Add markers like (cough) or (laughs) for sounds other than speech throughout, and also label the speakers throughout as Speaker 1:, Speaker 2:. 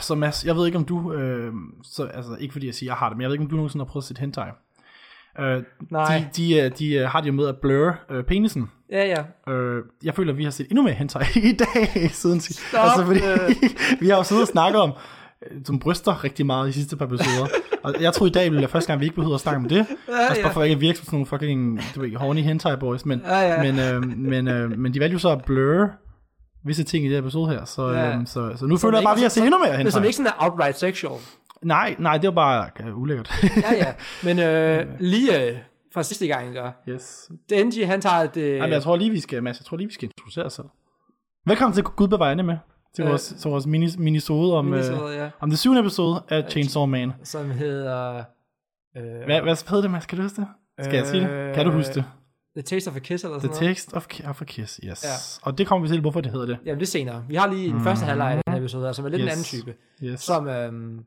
Speaker 1: Så Mads, jeg ved ikke om du, øh, så, altså ikke fordi jeg siger, jeg har det, men jeg ved ikke om du nogensinde har prøvet at sætte hentai. Øh,
Speaker 2: Nej.
Speaker 1: De, de, øh, de øh, har det jo med at blurre øh, penisen.
Speaker 2: Ja, ja.
Speaker 1: Øh, jeg føler, at vi har set endnu mere hentai (laughs) i dag, siden sidst.
Speaker 2: Stop
Speaker 1: fordi,
Speaker 2: det.
Speaker 1: (laughs) vi har jo siddet og snakket om, øh, som bryster rigtig meget i de sidste par episoder. og jeg tror i dag ville være første gang, vi ikke behøver at snakke om det. Ja, altså bare
Speaker 2: (laughs) ja.
Speaker 1: for ikke at virke som sådan nogle fucking, du ved, horny hentai boys. Men,
Speaker 2: Ja, ja.
Speaker 1: men, øh, men, øh, men de valgte jo så at blurre visse ting i det her episode her. Så,
Speaker 2: Ja.
Speaker 1: ja. øh, så, så nu føler jeg
Speaker 2: ikke-
Speaker 1: bare, at vi har set endnu mere
Speaker 2: Men
Speaker 1: hentai.
Speaker 2: som ikke sådan er outright sexual.
Speaker 1: Nej, nej, det var bare øh, ulækkert.
Speaker 2: Ja, ja. (laughs) Men øh, lige øh, fra sidste gang, der.
Speaker 1: (laughs) yes.
Speaker 2: Denji, han tager øh, det...
Speaker 1: Jamen, jeg tror lige, vi skal, Mads, jeg tror lige, vi skal introducere os selv. Velkommen til Gud bevare med, til
Speaker 2: Øh.
Speaker 1: vores, til vores mini, minisode om, øh,
Speaker 2: Minisode,
Speaker 1: minisode,
Speaker 2: ja.
Speaker 1: ja. om det syvende episode af Chainsaw Man.
Speaker 2: som hedder... Øh,
Speaker 1: Hvad, hvad hed det, Mads? Kan du huske det? Skal jeg sige det? Kan du huske det?
Speaker 2: The Taste of a Kiss eller
Speaker 1: The
Speaker 2: sådan noget.
Speaker 1: Text of, Ki- of a Kiss, yes. Ja. Og det kommer vi til, hvorfor det hedder det.
Speaker 2: Jamen det er senere. Vi har lige den første halvleg af den her episode her, som er lidt yes. en anden
Speaker 1: Mm-hmm. Yes.
Speaker 2: type.
Speaker 1: Yes.
Speaker 2: Som, øhm,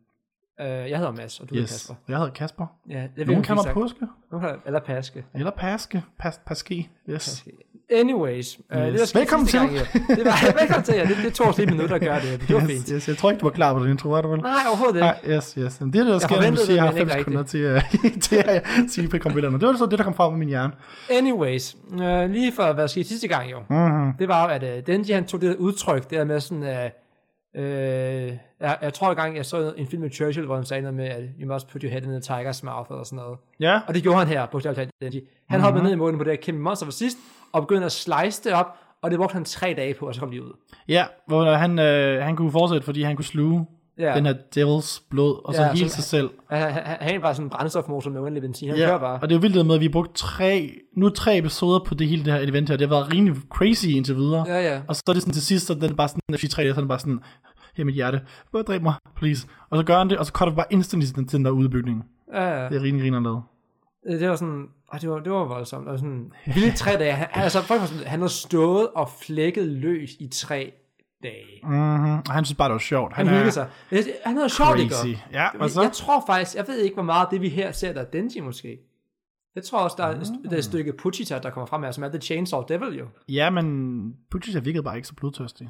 Speaker 2: øh, jeg hedder Mads, og du yes.
Speaker 1: yes.
Speaker 2: hedder Kasper.
Speaker 1: Jeg hedder Kasper.
Speaker 2: Ja, jeg ved,
Speaker 1: Nogen
Speaker 2: ikke, om
Speaker 1: kalder
Speaker 2: vi
Speaker 1: mig
Speaker 2: har
Speaker 1: Påske.
Speaker 2: sagt- Nogen kalder- Eller Paske.
Speaker 1: Eller Paske. Pas, paske. Yes.
Speaker 2: Anyways, øh, det der skete
Speaker 1: Velkommen
Speaker 2: sidste
Speaker 1: til.
Speaker 2: Gang, ja. det var, (laughs) velkommen til, ja. Det, det tog os lige et minut at gøre det her, men det var fint.
Speaker 1: Yes, yes. Jeg tror ikke, du var klar på den intro, var du vel?
Speaker 2: Nej, overhovedet ikke.
Speaker 1: Nej, Ah, yes, yes. Men det er det, der sker, når du
Speaker 2: forventede
Speaker 1: siger,
Speaker 2: det,
Speaker 1: at
Speaker 2: men
Speaker 1: jeg har 90
Speaker 2: ikke
Speaker 1: sekunder til, uh, (laughs) til at sige prekompilerne. Det var så det, der kom frem i min hjerne.
Speaker 2: Anyways, øh, lige for hvad der skete sidste gang jo, mm-hmm. det var jo, at øh, Denji han tog det der udtryk, det der med sådan, øh, øh, jeg, jeg tror engang, jeg så en film med Churchill, hvor han sagde noget med, at you must put your head in the tiger's mouth, eller sådan noget.
Speaker 1: Ja,
Speaker 2: Og det gjorde han her, på talt, Denji.
Speaker 1: Mhm.
Speaker 2: Han mm-hmm. hoppede ned i munden på det her kæmpe monster for sidst, og begyndte at slice det op, og det brugte han tre dage på, og så kom de ud.
Speaker 1: ja hvor han, øh, han kunne fortsætte, fordi han kunne sluge
Speaker 2: Ja.
Speaker 1: ja. den her devils blod, og så
Speaker 2: Ja,
Speaker 1: ja, hele
Speaker 2: så-
Speaker 1: sig selv.
Speaker 2: Han, han, han, han var sådan en brændstofmotor med uendelig benzin, han ja. kører
Speaker 1: Ja,
Speaker 2: bare.
Speaker 1: og det er jo vildt det med, at vi har brugt tre, nu tre episoder på det hele det her event her. Det har været rimelig crazy indtil videre.
Speaker 2: Ja, ja.
Speaker 1: Og så er det sådan til sidst, så den er bare sådan, at de tre dage, så er den bare sådan, her mit hjerte, bare dræb mig, please. Og så gør han det, og så cutter vi bare instantly til den- til den der udbygning.
Speaker 2: Ja, ja.
Speaker 1: Det er rimelig griner lavet.
Speaker 2: Øh, Det var sådan, ah, det var, det var voldsomt. Og sådan, vilde tre dage. Han, altså, folk var sådan, han havde stået og flækket løs i tre dage.
Speaker 1: Mm-hmm. Og han synes bare, det var sjovt.
Speaker 2: Han hyggede sig. Jeg- Han havde sjovt, ikke?
Speaker 1: Crazy. Ja, og
Speaker 2: Jeg, jeg
Speaker 1: så?
Speaker 2: tror faktisk, jeg ved ikke, hvor meget af det, vi her ser, der er Denji måske. Jeg tror også, der er, mm. der
Speaker 1: Ah.
Speaker 2: er et stykke Puchita, der kommer frem her, som er The Chainsaw Devil jo.
Speaker 1: Ja, men Buttigieg virkede bare ikke så blodtørstig.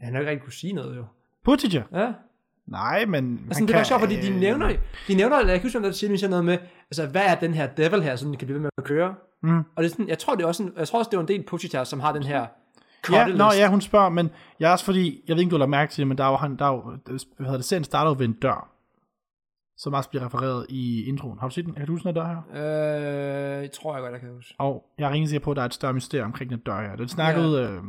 Speaker 2: Han har ikke rigtig kunne sige noget jo.
Speaker 1: Buttigieg?
Speaker 2: Ja.
Speaker 1: Nej, men... Altså,
Speaker 2: Sådan, det var sjovt, fordi de nævner, de nævner, eller jeg kan huske, om der siger, de siger noget med, altså, hvad er den her devil her, som den kan blive ved med at køre? Mm. Og det er sådan, jeg tror, det er også en, jeg tror også, det var en del Puchita, som har den her
Speaker 1: Ja,
Speaker 2: cutlist.
Speaker 1: nå, ja, hun spørger, men jeg er også fordi, jeg ved ikke, om du har lagt mærke til det, men der er jo, han, der er jo, hvad hedder det, serien starter jo ved en dør, som også bliver refereret i introen. Har du set den? Kan du huske den her dør her?
Speaker 2: Øh, jeg tror jeg godt, jeg kan huske.
Speaker 1: Og jeg er rimelig sikker på, at der er et større mysterium omkring den dør her. Den snakkede ja. øh,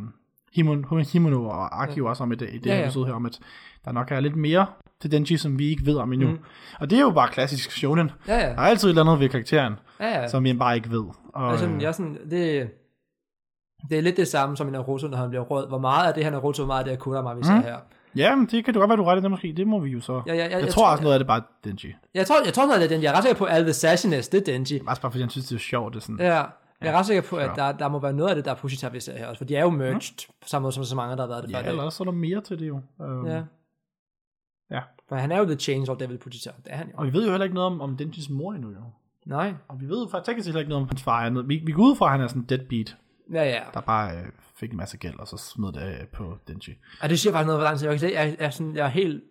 Speaker 1: Himon, Himono og Aki ja. også om i det, i det
Speaker 2: Ja,
Speaker 1: ja,
Speaker 2: ja.
Speaker 1: ja. episode her, om at der nok er lidt mere til Denji, som vi ikke ved om endnu. Mm. Og det er jo bare klassisk shonen.
Speaker 2: Ja, ja.
Speaker 1: Der er altid et eller andet ved karakteren,
Speaker 2: Ja, ja.
Speaker 1: Ah, som jeg bare ikke ved. Og,
Speaker 2: altså,
Speaker 1: øh,
Speaker 2: jeg er sådan, det, det er lidt det samme som i Naruto, når han bliver rød. Hvor meget af det her Naruto, hvor meget af det her Kurama, vi ser her.
Speaker 1: øh, Ja, men det kan du godt være, du er ret i det måske. Det må vi jo så.
Speaker 2: Ja, ja, ja,
Speaker 1: Mm. jeg,
Speaker 2: jeg
Speaker 1: jeg tror
Speaker 2: tror-
Speaker 1: også noget af det er bare Denji.
Speaker 2: Jeg tror, jeg tror, noget af det er Denji. Jeg er ret sikker på, at alle The Sassiness, det er Denji.
Speaker 1: Også bare fordi han synes, det er sjovt. Det er sådan. Ja.
Speaker 2: Ja, jeg er ret sikker på, at der, der må være noget af det, der er Pushita, vi ser her også. For de er jo merged, på samme måde som så mange, der har været det før. i
Speaker 1: Mm. Ja,
Speaker 2: dag.
Speaker 1: eller også er der mere til det jo. Øhm,
Speaker 2: ja.
Speaker 1: ja. ja.
Speaker 2: For han er jo The Change of Devil Pushita. Det er han jo.
Speaker 1: Og vi ved jo heller ikke noget om, om Denjis mor endnu jo.
Speaker 2: Nej.
Speaker 1: Og vi ved jo faktisk teknisk set heller ikke noget om hans far. andet. Vi, vi går ud fra, at han er sådan en deadbeat,
Speaker 2: Ja, ja.
Speaker 1: der bare øh, fik en masse gæld, og så smed det af på Denji.
Speaker 2: Og det siger faktisk noget, hvor lang tid jeg kan se. Jeg, jeg, er sådan, jeg er helt...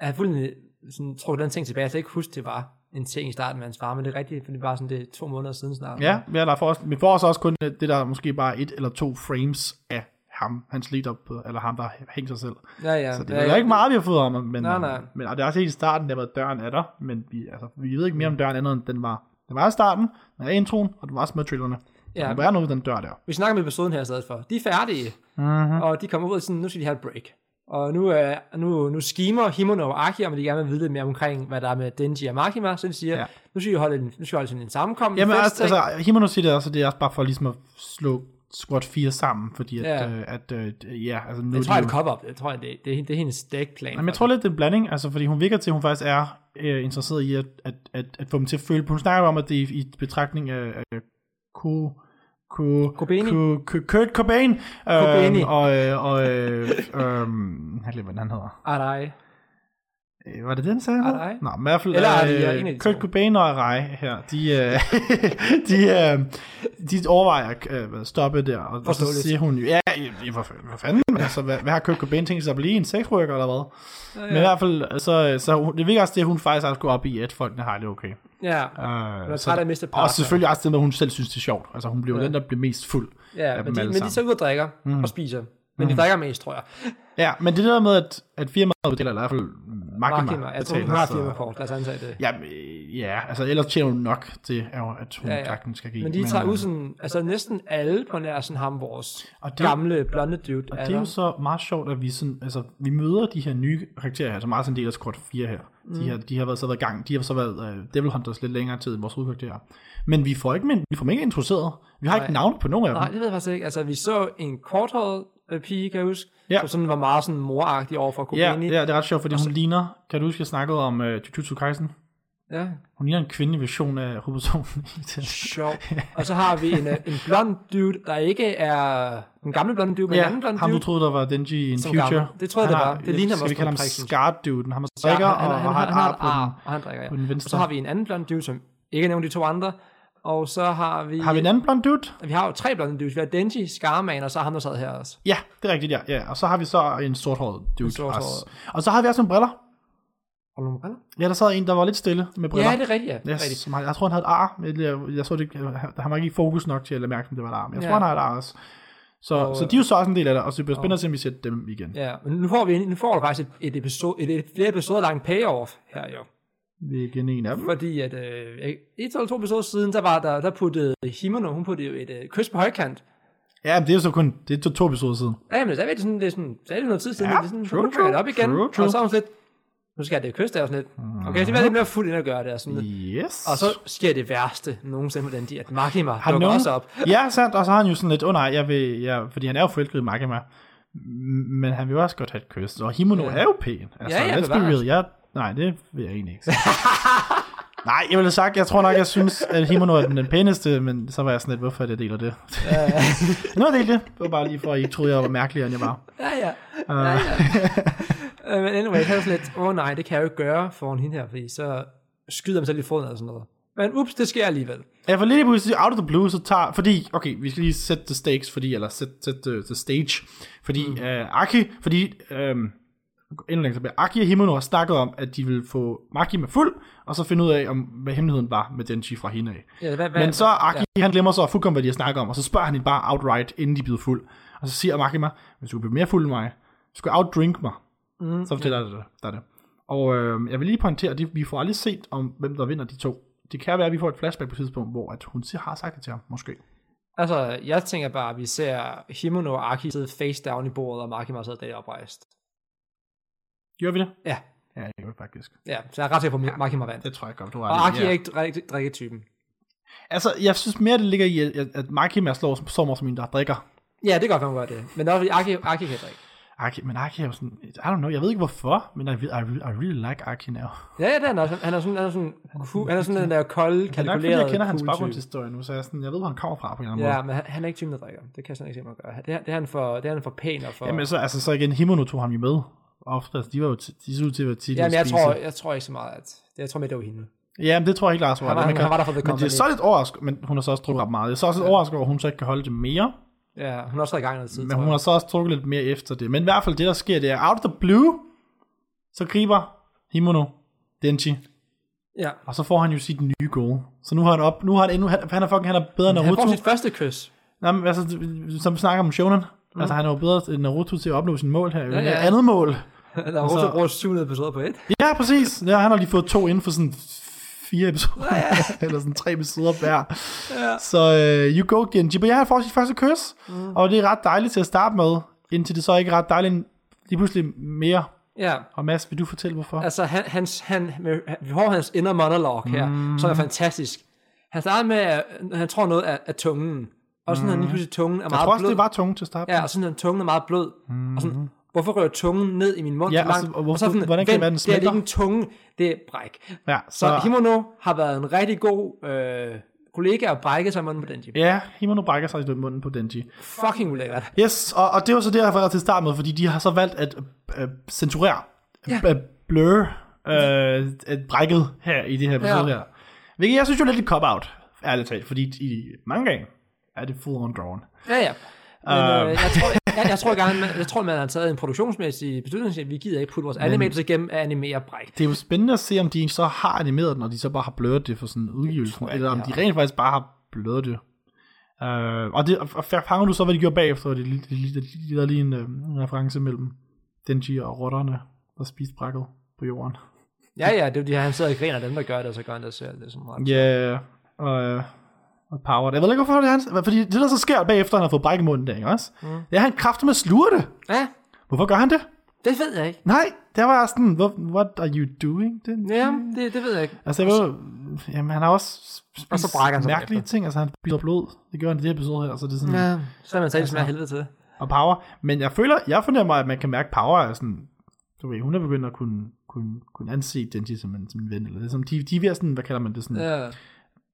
Speaker 2: Jeg er fuldstændig sådan, trukket den ting tilbage. Jeg kan ikke huske, det var en ting i starten med hans far, men det er rigtigt, for det var sådan, det er to måneder siden snart.
Speaker 1: Ja, vi, er der for os, vi får så også kun øh, det det der er måske bare et eller to frames af ham, hans lead up, eller ham, der hænger sig selv.
Speaker 2: ja, ja.
Speaker 1: Så det
Speaker 2: ja,
Speaker 1: er jo ikke meget, vi har fået om ham, men,
Speaker 2: Nej, nej.
Speaker 1: men og det er også helt i starten, der var døren er der, men vi, altså, vi ved ikke mere om
Speaker 2: Mm.
Speaker 1: døren andet, end den var. Den var i starten, den var i introen, og den var også med trailerne.
Speaker 2: Ja.
Speaker 1: Ja. Der er noget ved den dør der.
Speaker 2: Vi snakker med episoden her i stedet for. De er færdige,
Speaker 1: Mhm.
Speaker 2: mm-hmm. og de kommer ud og sådan, nu skal de have et break. Og nu, uh, nu, nu skimer Himono og Aki, om at de gerne vil vide lidt mere omkring, hvad der er med Denji og Makima, så de siger, ja.
Speaker 1: Ja.
Speaker 2: nu skal vi holde en, nu skal vi holde sådan en sammenkomst.
Speaker 1: Jamen
Speaker 2: fest,
Speaker 1: også,
Speaker 2: ikke?
Speaker 1: altså, Himono siger det også, og det er også bare for ligesom at slå squad 4 sammen, fordi at, ja,
Speaker 2: Ja.
Speaker 1: øh, at, øh, ja altså nu
Speaker 2: jeg
Speaker 1: er
Speaker 2: tror,
Speaker 1: de
Speaker 2: jeg
Speaker 1: jo-
Speaker 2: er et cop-up. Jeg tror, det, det, det, er- det er hendes dækplan.
Speaker 1: Jamen, jeg tror lidt, det er en blanding, altså, fordi hun virker til, at hun faktisk er øh, interesseret i at, at, at, at få dem til at føle på. Hun snakker jo om, at det er i, i betragtning af, af Ko, Ko,
Speaker 2: Cobaini.
Speaker 1: Ko, Ko, Kurt Cobain. Øhm,
Speaker 2: Cobaini.
Speaker 1: og, øh, og øh, øhm, jeg glemmer, hvad han hedder.
Speaker 2: Ah, nej.
Speaker 1: Øh, Var det den sagde han?
Speaker 2: Arai?
Speaker 1: Nå, men i hvert fald
Speaker 2: Eller Aria, en af
Speaker 1: øh,
Speaker 2: de
Speaker 1: Kurt
Speaker 2: to.
Speaker 1: Cobain og Arai her, de, øh, (laughs) de, øh, de overvejer at øh, stoppe der, og, og så
Speaker 2: Forståeligt.
Speaker 1: siger hun jo, ja, i- i- for, hvad fanden, altså, hvad, hvad har Kurt Cobain tænkt sig at blive, en sexrykker eller hvad?
Speaker 2: Ja,
Speaker 1: Men i hvert fald, så, så hun, det virker også det, at hun faktisk også går op i, at folkene har det okay.
Speaker 2: Ja, hun
Speaker 1: Øh,
Speaker 2: er
Speaker 1: så-
Speaker 2: træt af at miste altså.
Speaker 1: og
Speaker 2: partner.
Speaker 1: selvfølgelig også det med, at hun selv synes, det er sjovt. Altså hun bliver jo den, der bliver mest fuld.
Speaker 2: Ja,
Speaker 1: af
Speaker 2: men
Speaker 1: dem
Speaker 2: de,
Speaker 1: alle
Speaker 2: men de
Speaker 1: sammen.
Speaker 2: så ud og drikker mm. og spiser. Men mm. de drikker mest, tror jeg.
Speaker 1: Ja, men det der med, at, at firmaet betaler, eller i hvert fald
Speaker 2: Markimer.
Speaker 1: Markimer
Speaker 2: Jeg tror, hun har
Speaker 1: så-
Speaker 2: firmakort, lad os antage det.
Speaker 1: Jamen, øh, ja, altså ellers tjener hun nok til, at hun- at hun
Speaker 2: Ja,
Speaker 1: ja,
Speaker 2: ja.
Speaker 1: ja. sagtens skal give.
Speaker 2: Men de tager
Speaker 1: øh,
Speaker 2: ud sådan, altså næsten alle på nær sådan ham, vores
Speaker 1: Og det-
Speaker 2: gamle blonde dude.
Speaker 1: Og det er jo så meget sjovt, at vi, sådan, altså, vi møder de her nye karakterer her, som meget sådan del af Squad 4 her. Mm. De, her, de har været, så været i gang, de har så været uh, Devil Hunters lidt længere tid end vores hovedkarakterer. Men vi får ikke, men, vi får dem ikke introduceret. Vi har
Speaker 2: Nej.
Speaker 1: ikke navne på nogen af dem.
Speaker 2: Nej, det ved jeg faktisk ikke. Altså, vi så en korthåret øh, pige, kan jeg huske, ja.
Speaker 1: Ja.
Speaker 2: som sådan var meget sådan moragtig over for
Speaker 1: Ja,
Speaker 2: Kobeni.
Speaker 1: ja, det er ret sjovt, fordi hun ligner, kan du huske, jeg snakkede om uh, Jujutsu Kaisen?
Speaker 2: ja.
Speaker 1: Hun ligner en kvindelig version af Hobozonen i
Speaker 2: (laughs)
Speaker 1: det.
Speaker 2: Sjov. Og så har vi en, øh, en blond dude, der ikke er den gamle blonde dude, men en anden blond
Speaker 1: ham du
Speaker 2: dude.
Speaker 1: troede, der var Denji in
Speaker 2: Som
Speaker 1: Future.
Speaker 2: gammel. Det troede jeg,
Speaker 1: Han
Speaker 2: det
Speaker 1: har-
Speaker 2: var. Det ligner
Speaker 1: Skal
Speaker 2: mig
Speaker 1: vi
Speaker 2: også
Speaker 1: kalde ham
Speaker 2: på priksen.
Speaker 1: Scar-dude? Han har strikker og har et ar på den.
Speaker 2: og han drikker, ja.
Speaker 1: på den venstre.
Speaker 2: Og så har vi en anden blond dude, som ikke er nævnt de to andre. Og så har vi...
Speaker 1: Har vi en anden blond dude?
Speaker 2: Vi har jo tre blonde dudes. Vi har Denji, Skarman, og så ham, der sad her også.
Speaker 1: Ja, det er rigtigt, ja. ja. Og så har vi så en sorthåret dude.
Speaker 2: En sorthåret.
Speaker 1: også. Og så har vi også nogle briller.
Speaker 2: Har du nogle briller?
Speaker 1: Ja, der sad en, der var lidt stille med briller.
Speaker 2: Ja, det er rigtigt, ja. Det er
Speaker 1: Yes,
Speaker 2: rigtigt.
Speaker 1: som har, jeg tror, han havde et ar. men Jeg, jeg så det, han han var ikke i fokus nok til at lade mærke, om det var et ar. Men jeg
Speaker 2: Ja.
Speaker 1: tror, han har et ar også. Så,
Speaker 2: Og-
Speaker 1: så de er jo så også en del af det, og så det bliver spændende at se, om vi ser dem igen.
Speaker 2: Ja, men nu får, vi, nu får du faktisk et, et, episode, et, et flere episoder langt payoff her jo.
Speaker 1: Det er igen en af dem.
Speaker 2: Fordi at øh, et eller to episoder siden, der, var der, der puttede Himono, hun puttede jo et øh, kys på højkant.
Speaker 1: Ja, men det er jo så kun det er to, to episoder siden.
Speaker 2: Ja, men der er det sådan, det er sådan, så er det noget tid siden,
Speaker 1: Ja,
Speaker 2: ja, det er sådan,
Speaker 1: true,
Speaker 2: hun true, det
Speaker 1: true,
Speaker 2: op igen,
Speaker 1: true, Mhm. true.
Speaker 2: og så er hun sådan lidt, nu skal jeg det kys der, og sådan lidt, okay, så bliver det mere fuld ind at gøre det, og sådan lidt.
Speaker 1: Yes.
Speaker 2: Og så sker det værste nogensinde på den, de, at Makima
Speaker 1: Har
Speaker 2: dukker
Speaker 1: nogen-
Speaker 2: også op. (laughs)
Speaker 1: ja, sandt. Og så har han jo sådan lidt, åh oh, nej, jeg vil, jeg, fordi han er jo forelsket i Makima. M- Men han vil jo også godt have et kys. Og Himono
Speaker 2: Ja.
Speaker 1: ja. er jo pæn. Altså,
Speaker 2: Ja, ja,
Speaker 1: let's be
Speaker 2: bevares.
Speaker 1: real. Jeg, nej, det vil jeg egentlig ikke.
Speaker 2: (laughs)
Speaker 1: sige. nej, jeg ville have sagt, jeg tror nok, jeg synes, at Himono er den, den pæneste, men så var jeg sådan lidt, hvorfor er det, jeg deler det? (laughs) nu har jeg delt det. Det var bare lige for, at I troede, jeg var mærkeligere, end jeg var.
Speaker 2: Ja, ja. ja, ja.
Speaker 1: (laughs)
Speaker 2: Øh, Men anyway, han er sådan lidt, åh oh, nej, det kan jeg jo ikke gøre foran hende her, fordi så skyder man selv i foden eller sådan noget. Men ups, det sker alligevel.
Speaker 1: Jeg var lige pludselig out of the blue, så tager... Fordi, okay, vi skal lige sætte the stakes, fordi, eller sætte, sætte the, the stage. Fordi mm. øh, Aki, fordi... Øh, endnu længere tilbage. Aki og Himono har snakket om, at de ville få Maki med fuld, og så finde ud af, om, hvad hemmeligheden var med Denji fra hende af.
Speaker 2: Ja, hvad, hvad,
Speaker 1: Men så Aki, ja. han glemmer så fuldkommen, hvad de har snakket om, og så spørger han hende bare outright, inden de bliver fuld. Og så siger Maki mig, hvis du bliver mere fuld end mig, så skal du outdrink mig.
Speaker 2: Mhm.
Speaker 1: Mm, så fortæller yeah. det, der er det. Og øh, jeg vil lige pointere, at det- vi får aldrig set, om hvem der vinder de to. Det kan være, at vi får et flashback på et tidspunkt, hvor at hun siger, har sagt det til ham, måske.
Speaker 2: Altså, jeg tænker bare, at vi ser Himono og Aki sidde face down i bordet, og Makima sidder der oprejst.
Speaker 1: Gjorde vi det?
Speaker 2: Ja,
Speaker 1: Ja, det gjorde vi faktisk.
Speaker 2: ja, så jeg er ret sikker på, at Makima vandt.
Speaker 1: Det tror jeg godt, du har
Speaker 2: Og
Speaker 1: ret i,
Speaker 2: Aki er ikke rigtig drikketypen.
Speaker 1: Altså, jeg synes mere, det ligger i, at, at Maki er slår som- som som en, der drikker.
Speaker 2: Ja, det kan godt være, hun gør det. Men det er også, fordi Aki, Aki kan drikke.
Speaker 1: Aki, men Aki er jo sådan, I don't know, jeg ved ikke hvorfor, men I, re- I, re- I really like Aki now.
Speaker 2: Ja, ja, det er han også. Han er sådan, han er sådan, cool, han er sådan den der kolde,
Speaker 1: Det er nok,
Speaker 2: kalkulerede,
Speaker 1: fordi jeg kender hans
Speaker 2: cool type.
Speaker 1: baggrundshistorie nu, så jeg, er sådan, jeg ved, hvor han kommer fra på en eller anden
Speaker 2: Ja, men han, han er ikke typen, der drikker. Det kan jeg sådan ikke se mig gøre. Det, er- det, er han for, det er han for pæn og for...
Speaker 1: måde. Jamen, så, altså, så igen, Himono tog ham jo med. Ofte, altså, de var jo t- de så ud til at være tit
Speaker 2: Jamen, jeg tror, jeg tror ikke så meget, at... Jeg tror mere, det var hende.
Speaker 1: Ja, men det tror jeg ikke, Lars var.
Speaker 2: Han var-
Speaker 1: det. Man
Speaker 2: han- han var der for The
Speaker 1: men det er
Speaker 2: Company.
Speaker 1: så lidt overrasket, men hun har så også drukket ret meget. Det er så også lidt overrasket over, at hun så ikke kan holde det mere.
Speaker 2: Ja, hun har også været i gang noget tid,
Speaker 1: Men
Speaker 2: tror
Speaker 1: hun
Speaker 2: jeg.
Speaker 1: har så også drukket lidt mere efter det. Men i hvert fald det, der sker, det er out of the blue, så griber Himono Denji,
Speaker 2: Ja.
Speaker 1: og så får han jo sit nye gode. Så nu har han op, nu har han endnu, han, han er fucking, han er bedre end
Speaker 2: Han
Speaker 1: Naruto.
Speaker 2: får sit første
Speaker 1: (laughs)
Speaker 2: kys.
Speaker 1: Nej, men altså, som vi snakker om Shonen, mm. altså han er jo bedre end Naruto til at opnå sin mål her. Ja,
Speaker 2: ja.
Speaker 1: ja. Andet mål.
Speaker 2: Naruto bruger 700 episoder på et.
Speaker 1: Ja, præcis. Ja, han har lige fået to inden for sådan fire episoder, ja, ja. (laughs) eller sådan tre episoder hver. Ja. Så uh, you go, Genji. Men ja, han får sit første kys, mm. og det er ret dejligt til at starte med, indtil det så ikke er ret dejligt lige pludselig mere.
Speaker 2: Ja,
Speaker 1: Og Mads, vil du fortælle, hvorfor?
Speaker 2: Altså, han, hans, han, med, vi får hans inner monolog her, mm. som er fantastisk. Han starter med, at han tror noget af, af tungen, og sådan mm. han lige pludselig tungen er
Speaker 1: Jeg
Speaker 2: meget
Speaker 1: tror også,
Speaker 2: blød.
Speaker 1: det var tungt til at starte
Speaker 2: Ja, og sådan han tungen er meget blød. Mm. Og sådan, hvorfor rører tungen ned i min mund
Speaker 1: Ja,
Speaker 2: så
Speaker 1: og så-
Speaker 2: langt?
Speaker 1: og hvorfor-
Speaker 2: sådan,
Speaker 1: hvordan kan det være, den
Speaker 2: Det er
Speaker 1: smelter?
Speaker 2: ikke en tunge, det er bræk.
Speaker 1: med. ja
Speaker 2: Så, så Himono har været en rigtig god øh, kollega og brækket sig i munden på den. Yeah.
Speaker 1: Ja, Himano brækker sig i munden på Denji.
Speaker 2: Fucking ulækkert.
Speaker 1: Yes, og, og det var så det, jeg refererede til at starte med, fordi de har så valgt at øh, censurere,
Speaker 2: Ja.
Speaker 1: ja. blur, øh, et brækket her i det her episode ja.
Speaker 2: Ja.
Speaker 1: her. Hvilket jeg synes jo er lidt et cop-out, ærligt talt, fordi i mangaen er det full on drawn.
Speaker 2: Ja, ja. Men,
Speaker 1: Øhm.
Speaker 2: øh, jeg, tror, jeg, jeg, tror gerne, man, jeg tror, man har taget en produktionsmæssig beslutning, til, at vi gider ikke putte vores animators igennem at animere bræk.
Speaker 1: Det er jo spændende at se, om de så har animeret den, og de så bare har blurret det for sådan udgivelsen,
Speaker 2: tror jeg,
Speaker 1: eller om
Speaker 2: ja.
Speaker 1: de rent faktisk bare har blurret det. Uh, og, det, og og fanger du så, hvad de gjorde bagefter? Det, det, det, det, det der er lige en, øh, en reference mellem Denji og rotterne, der spiste brækket på jorden.
Speaker 2: Ja, ja, det er jo de her, han sidder og griner af dem, der gør det, og så gør han det selv. Det er sådan meget.
Speaker 1: Ja, yeah, og, øh, og power. Jeg ved ikke, hvorfor det er hans... Fordi det, der så sker bagefter, han har fået bræk i munden der, ikke også? Mm. Det er, han kraft med sluger det.
Speaker 2: Ja,
Speaker 1: Hvorfor gør han det?
Speaker 2: det ved jeg ikke.
Speaker 1: Nej, der var jeg sådan, "Hvor- what are you doing? Det,
Speaker 2: Ja, det, det ved jeg ikke.
Speaker 1: Altså, jeg ved, jamen, han har også spist
Speaker 2: Og så brækker han sig
Speaker 1: mærkelige ting. Altså, han spiller blod. Det gør han i det her episode her, så det er sådan...
Speaker 2: Ja, så er man talt med helvede til.
Speaker 1: Og power. Men jeg føler, jeg fornemmer, at man kan mærke power er sådan... Du ved, hun er begyndt at kunne, kunne, kunne anse Denji som en, som en ven. Eller det, som de, de er ved at sådan, hvad kalder man det sådan...
Speaker 2: Ja.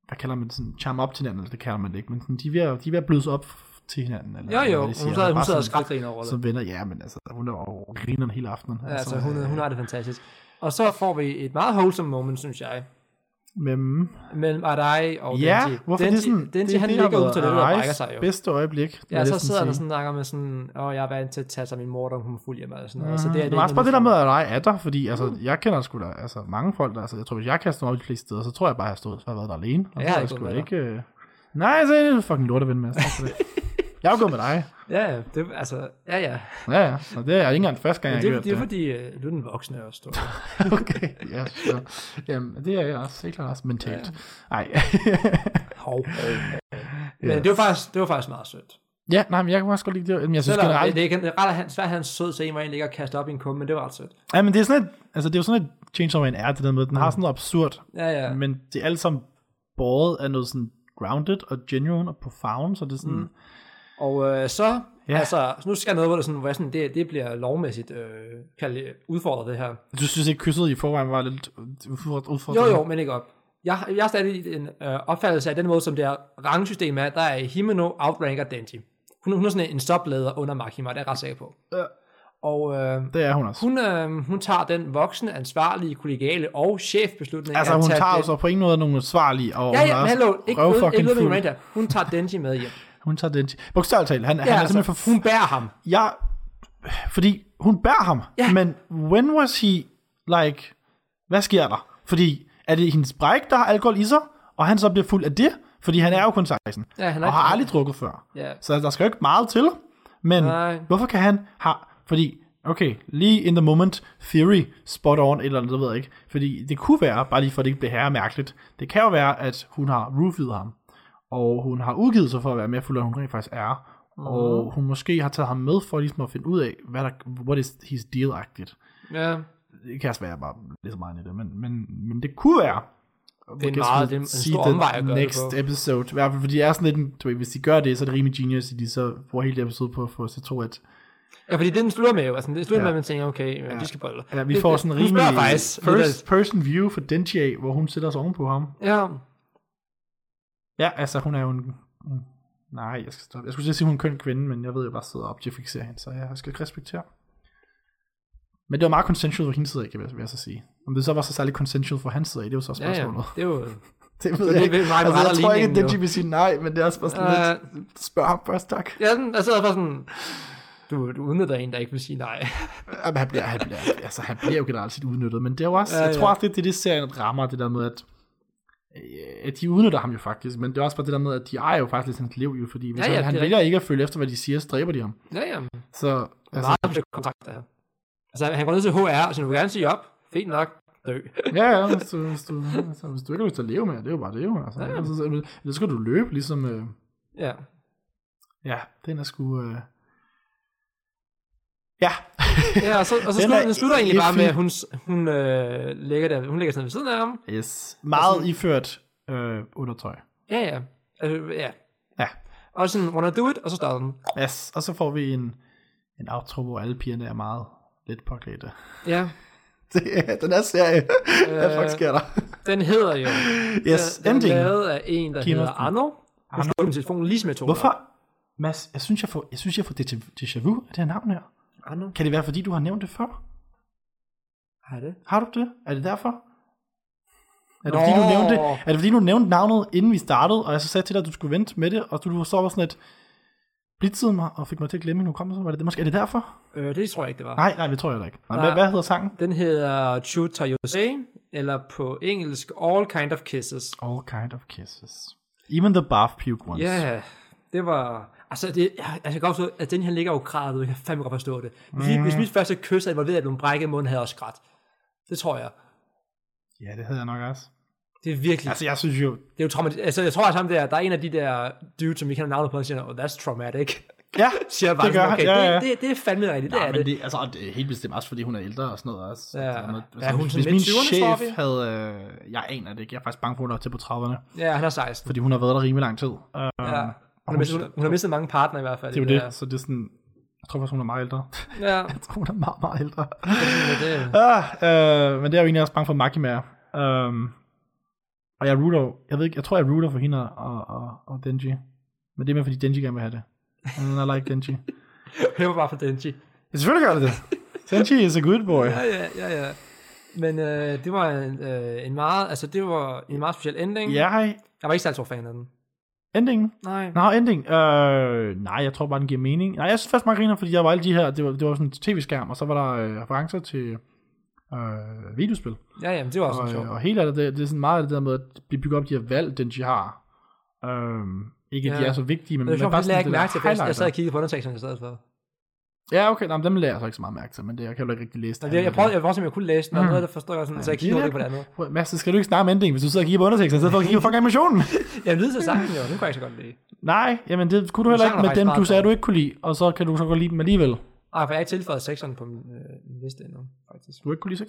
Speaker 1: hvad kalder man det, sådan, charm op til hinanden, eller det kalder man det ikke, men sådan, de er ved, at- de er ved at blødes op til hinanden. Eller,
Speaker 2: Jo,
Speaker 1: hvad
Speaker 2: jo,
Speaker 1: de
Speaker 2: hun
Speaker 1: siger,
Speaker 2: sad,
Speaker 1: bare
Speaker 2: hun sad
Speaker 1: sådan-
Speaker 2: og skraldgriner over det.
Speaker 1: Som venner, ja, men altså, hun er jo grineren hele aftenen.
Speaker 2: Ja, altså, hun, hun har det fantastisk. Og så får vi et meget wholesome moment, synes jeg,
Speaker 1: øh, Men,
Speaker 2: mellem Arai og
Speaker 1: ja,
Speaker 2: Denji.
Speaker 1: hvorfor
Speaker 2: Denji,
Speaker 1: det er sådan,
Speaker 2: Denji, han
Speaker 1: det, der
Speaker 2: ligger
Speaker 1: har
Speaker 2: ud til det,
Speaker 1: været
Speaker 2: og brækker
Speaker 1: Arais
Speaker 2: sig jo.
Speaker 1: bedste øjeblik. vil
Speaker 2: Ja,
Speaker 1: jeg
Speaker 2: så
Speaker 1: næsten
Speaker 2: sidder han og
Speaker 1: sige.
Speaker 2: sådan snakker med sådan, åh, oh, jeg er vant til at tage sig af min mor, da hun er fuld hjemme, og sådan noget. Mm, så det,
Speaker 1: det
Speaker 2: er
Speaker 1: er
Speaker 2: ikke
Speaker 1: Mm-hmm. også bare
Speaker 2: noget
Speaker 1: det der
Speaker 2: for-
Speaker 1: med, at jeg er der, fordi altså, jeg kender sgu da altså, mange folk, der, altså, jeg tror, hvis jeg kaster mig op de fleste steder, så tror jeg bare, at jeg har stået, så har jeg været der alene. Og så
Speaker 2: Ja, jeg
Speaker 1: har
Speaker 2: er gået
Speaker 1: sgu
Speaker 2: med
Speaker 1: da
Speaker 2: dig.
Speaker 1: ikke... Øh... Nej, så er det fucking lort at vende med. tak for
Speaker 2: (laughs)
Speaker 1: det. Jeg er jo gået med dig.
Speaker 2: Ja, ja, det, altså, ja, ja.
Speaker 1: Ja, ja. Og det er ikke engang første gang, jeg
Speaker 2: Men
Speaker 1: har
Speaker 2: det, er-
Speaker 1: gjort
Speaker 2: det er fordi, øh, du er den voksne
Speaker 1: (laughs)
Speaker 2: også, du.
Speaker 1: okay, ja, ja. Jamen, det er jeg også helt klart også mentalt. Nej.
Speaker 2: Hov. Øh, Men det var faktisk, det var faktisk meget sødt.
Speaker 1: (laughs) ja, nej, men jeg kan også godt lide det. Men jeg synes
Speaker 2: Selvom det,
Speaker 1: generelt...
Speaker 2: det, er ikke- det er ret, han, svært, han sød til en, hvor en ligger og kaster op i en kumme, men det var ret sødt.
Speaker 1: Ja, men det er sådan et, altså, det er jo sådan et Chainsaw Man er, det der med, den har sådan noget absurd,
Speaker 2: Ja, ja.
Speaker 1: men det er alt sammen båret af noget sådan grounded og genuine og profound, så det er sådan... Mm.
Speaker 2: Og øh, så,
Speaker 1: Ja.
Speaker 2: ja. altså, så nu skal jeg noget, hvor, det, sådan, hvor jeg sådan, det, det bliver lovmæssigt øh, kaldt, udfordret, det her.
Speaker 1: Du synes ikke, kysset i forvejen var lidt udfordret?
Speaker 2: Mm. Jo, jo, men ikke op. Jeg, jeg har stadig en øh, opfattelse af den måde, som det her rangsystem er. Der er Himeno outranker Denji. Hun, hun er sådan en subleder under Makima, det er jeg ret sikker på.
Speaker 1: Ja.
Speaker 2: Og øh,
Speaker 1: Det er hun også. Hun,
Speaker 2: hun, øh, hun tager den voksne, ansvarlige, kollegiale og chefbeslutning.
Speaker 1: altså,
Speaker 2: at
Speaker 1: hun
Speaker 2: tage
Speaker 1: tager jo
Speaker 2: den-
Speaker 1: så på ingen måde nogen svarlige, og
Speaker 2: Ja,
Speaker 1: hun
Speaker 2: ja,
Speaker 1: er
Speaker 2: men
Speaker 1: også
Speaker 2: hallo, ikke ud,
Speaker 1: røvfucking
Speaker 2: ikke ud med
Speaker 1: fuld.
Speaker 2: Miranda. Hun tager Denji med hjem.
Speaker 1: Hun tager den til. Bogstaveligt talt, han, ja, han er
Speaker 2: altså,
Speaker 1: simpelthen for fu-
Speaker 2: hun bærer ham.
Speaker 1: jeg, fordi hun bærer ham,
Speaker 2: Ja.
Speaker 1: men when was he, like, hvad sker der? Fordi er det hendes bræk, der har alkohol i sig, og han så bliver fuld af det? Fordi han er jo kun 16,
Speaker 2: Ja, han er
Speaker 1: og
Speaker 2: ikke-
Speaker 1: har aldrig drukket før.
Speaker 2: Ja.
Speaker 1: Så der skal jo ikke meget til, men
Speaker 2: Nej.
Speaker 1: hvorfor kan han har fordi, okay, lige in the moment, theory, spot on, et eller andet, det ved jeg ikke. Fordi det kunne være, bare lige for at det ikke bliver herremærkeligt, det kan jo være, at hun har roofied ham, og hun har udgivet sig for at være mere fuld, end hun rent faktisk er, og hun måske har taget ham med for ligesom at finde ud af, hvad der, what is his deal-agtigt.
Speaker 2: Ja.
Speaker 1: Det kan også være, at jeg bare læser meget ind i det, men, men, men det kunne være,
Speaker 2: Det er en
Speaker 1: Guess
Speaker 2: meget,
Speaker 1: we'll
Speaker 2: det er en
Speaker 1: see
Speaker 2: stor
Speaker 1: the
Speaker 2: omvej at gøre
Speaker 1: next
Speaker 2: det på.
Speaker 1: episode. I hvert fald, fordi det er sådan lidt en, du ved, hvis de gør det, så er det rimelig genius, at de så bruger hele det episode på at få os til at tro, at
Speaker 2: Ja, fordi det den slutter med jo. Altså, det slutter
Speaker 1: Ja.
Speaker 2: ja. med, at man tænker, okay, ja. de skal bolle.
Speaker 1: Ja, vi
Speaker 2: Det-
Speaker 1: får
Speaker 2: det-
Speaker 1: sådan en
Speaker 2: hun spørger
Speaker 1: rimelig
Speaker 2: faktisk.
Speaker 1: first person view for Denji, af, hvor hun sætter sig ovenpå ham.
Speaker 2: Ja,
Speaker 1: Ja, altså hun er jo en... en- Nej, jeg skal stoppe. Jeg skulle til at sige, hun er en køn kvinde, men jeg ved, jeg bare sidder og objektificerer hende, så jeg skal respektere. Men det var meget consensual for hendes side, af, kan jeg- vil jeg så sige. Om det så var så særlig consensual for hans side, af, det er jo så
Speaker 2: ja, ja.
Speaker 1: spørgsmålet.
Speaker 2: Det er jo...
Speaker 1: (laughs) Det ved
Speaker 2: Det er
Speaker 1: jeg
Speaker 2: det,
Speaker 1: ikke.
Speaker 2: vi- meget-
Speaker 1: Altså, jeg
Speaker 2: meget
Speaker 1: tror ikke, at
Speaker 2: ligningen,
Speaker 1: Denji
Speaker 2: jo. Øh.
Speaker 1: vil sige nej, men det er også bare sådan lidt... Spørg ham først, tak.
Speaker 2: Ja, den, jeg sidder bare sådan... Du, du udnytter en, der ikke vil sige nej. (laughs)
Speaker 1: Jamen, han bliver, han bliver, altså, han bliver jo generelt set udnyttet, men det er jo også, ja,
Speaker 2: Ja,
Speaker 1: jeg tror
Speaker 2: ja.
Speaker 1: også, det er det, det serien rammer, det der med, at, øh, at de udnytter ham jo faktisk, men det er også bare det der med, at de ejer jo faktisk lidt hans liv, jo, fordi hvis ja,
Speaker 2: Ja, ja,
Speaker 1: ja,
Speaker 2: det
Speaker 1: han,
Speaker 2: er
Speaker 1: han vælger ikke at følge efter, hvad de siger, så dræber de ham.
Speaker 2: Ja, ja.
Speaker 1: Så,
Speaker 2: Altså,
Speaker 1: altså,
Speaker 2: meget kompleks kontrakt, der. Altså, han går ned til HR og siger, du vil gerne sige op. Fint nok. Dø.
Speaker 1: ja, ja, hvis du, hvis, du, altså, hvis du ikke har lyst til at leve med, det er jo bare det, jo. Altså, ja.
Speaker 2: Ja.
Speaker 1: altså, så- så skal du løbe, ligesom, øh,
Speaker 2: Ja.
Speaker 1: ja, den er sgu, øh, ja,
Speaker 2: ja og så, og
Speaker 1: Den er
Speaker 2: så slutter, den slutter egentlig bare
Speaker 1: helt
Speaker 2: med,
Speaker 1: fin.
Speaker 2: at hun, s- hun, øh, ligger der, hun ligger sådan ved siden af ham.
Speaker 1: yes. meget iført øh, undertøj.
Speaker 2: Ja, ja. Altså, ja.
Speaker 1: Ja.
Speaker 2: Og sådan, wanna do it, og så starter den.
Speaker 1: Yes, og så får vi en, en outro, hvor alle pigerne er meget lidt påklædte.
Speaker 2: Ja.
Speaker 1: (laughs) Det er den her serie. Øh, Hvad fuck sker der?
Speaker 2: Den hedder jo...
Speaker 1: Yes,
Speaker 2: den, Den
Speaker 1: ending.
Speaker 2: er lavet af en, der
Speaker 1: Kim
Speaker 2: hedder
Speaker 1: Austin.
Speaker 2: Arno. Hun slog min telefon lige som jeg tog den op.
Speaker 1: Hvorfor? Mads, jeg synes, jeg får, jeg synes, jeg får déjà, déjà vu af det her navn her.
Speaker 2: Arno?
Speaker 1: Kan det være, fordi du har nævnt det før?
Speaker 2: Har jeg det?
Speaker 1: Har du det? Er det derfor? Er det, fordi, du nævnte, er det fordi, du nævnte navnet, inden vi startede, og jeg så sagde til dig, at du skulle vente med det, og du så var sådan et, blitzede mig, og fik mig til at glemme min hukommelse. Var det det? Måske er det derfor?
Speaker 2: Øh, det tror jeg ikke, det var.
Speaker 1: Nej, nej, det tror jeg da ikke. Nej,
Speaker 2: Nej.
Speaker 1: Hvad, hvad hedder sangen?
Speaker 2: Den hedder Chuta Jose, eller på engelsk All Kind of Kisses.
Speaker 1: All kind of kisses. Even the bath puke ones.
Speaker 2: Ja, yeah, det var... Altså, det, jeg, altså, jeg kan godt forstå, at den her ligger jo kravet ud. Jeg kan fandme godt forstå det. Hvis, mm. hvis mit første kys er involveret, at nogle brække i munden, havde jeg også grædt. Det tror jeg.
Speaker 1: ja, det hedder jeg nok også.
Speaker 2: Det er virkelig...
Speaker 1: (laughs)
Speaker 2: Altså,
Speaker 1: Altså, jeg synes jo...
Speaker 2: det er jo traumatisk. Altså, jeg tror sammen, der, er- der er en af de der dudes, som vi kender navnet på, der siger, oh, that's traumatic. (laughs)
Speaker 1: Ja,
Speaker 2: Siger jeg bare,
Speaker 1: det gør
Speaker 2: sådan, okay,
Speaker 1: ja, ja.
Speaker 2: Det, det, det, er fandme rigtigt. Det
Speaker 1: Ja,
Speaker 2: er
Speaker 1: men
Speaker 2: det.
Speaker 1: det, altså, og det er helt bestemt også, fordi hun er ældre og sådan noget også.
Speaker 2: Ja.
Speaker 1: Det er noget-
Speaker 2: Ja,
Speaker 1: altså,
Speaker 2: hun er
Speaker 1: hvis,
Speaker 2: sådan
Speaker 1: hvis min
Speaker 2: midt 20'erne,
Speaker 1: chef
Speaker 2: tror vi.
Speaker 1: havde... Øh, jeg aner det ikke. Jeg er faktisk bange for, at hun er til på 30'erne.
Speaker 2: Ja, han er 16.
Speaker 1: Fordi hun har været der rimelig lang tid. Uh,
Speaker 2: Ja. Hun, har mistet, hun, hun har mistet mange partner i hvert fald.
Speaker 1: det er jo
Speaker 2: i
Speaker 1: det.
Speaker 2: der.
Speaker 1: Så det er sådan... Jeg tror faktisk, hun er meget ældre. (laughs)
Speaker 2: Ja,
Speaker 1: jeg tror, hun er meget, meget ældre.
Speaker 2: det, det,
Speaker 1: ah, øh, men det er jo egentlig også bange for Makima. Um, og jeg rooter, jo- jeg ved ikke, jeg tror, jeg rooter for hende og, og, og Denji. Men det er mere, fordi Denji gerne vil have det. And I like Denji.
Speaker 2: det var bare for Denji.
Speaker 1: Ja, selvfølgelig gør det det. Denji is a good boy.
Speaker 2: Ja, ja, ja, ja. Men øh, det var en, øh, en meget, altså det var en meget speciel ending.
Speaker 1: Ja, hej.
Speaker 2: Jeg var ikke særlig stor fan af den.
Speaker 1: Endingen.
Speaker 2: Nej.
Speaker 1: Nå, ending. Øh, nej, jeg tror bare, den giver mening. Nej, jeg synes faktisk, man griner, fordi der var alle de her, det var, det var sådan en tv-skærm, og så var der øh, referencer til øh, videospil.
Speaker 2: Ja, jamen, det var også
Speaker 1: Og,
Speaker 2: sjovt.
Speaker 1: øh, og hele af det, det er sådan meget af det der med, at vi bygger op de her valg, den de har. Øhm, ikke, at de
Speaker 2: Ja.
Speaker 1: er så vigtige, men,
Speaker 2: Men det var
Speaker 1: bare
Speaker 2: sjovt, jeg ikke
Speaker 1: det der
Speaker 2: mærke til, for jeg- jeg sad og
Speaker 1: highlighter.
Speaker 2: kiggede på underteksterne i stedet for.
Speaker 1: Ja, okay, nej, men dem lærer jeg så ikke så meget mærke til, men det, jeg kan jo ikke rigtig læse
Speaker 2: Og
Speaker 1: det.
Speaker 2: det, Mhm. jeg prøvede, jeg prøvede også, om jeg kunne læse den, og noget af det forstår jeg sådan, så jeg kiggede over det på det andet.
Speaker 1: prøvede... Mads, så skal du ikke snakke om ending, hvis du sidder og kigger på underteksten, i stedet for at kigge på fucking
Speaker 2: (laughs)
Speaker 1: animationen.
Speaker 2: Jeg lyder til sangen jo, den kunne jeg ikke så godt lide.
Speaker 1: nej, jamen det kunne du heller ikke
Speaker 2: sangen er
Speaker 1: med
Speaker 2: faktisk
Speaker 1: dem, du
Speaker 2: meget
Speaker 1: sagde, du ikke kunne lide, og så kan du så godt lide dem alligevel.
Speaker 2: Ej, for jeg har ikke tilføjet sekseren på min, øh, min liste endnu, faktisk.
Speaker 1: Du ikke kunne lide sex?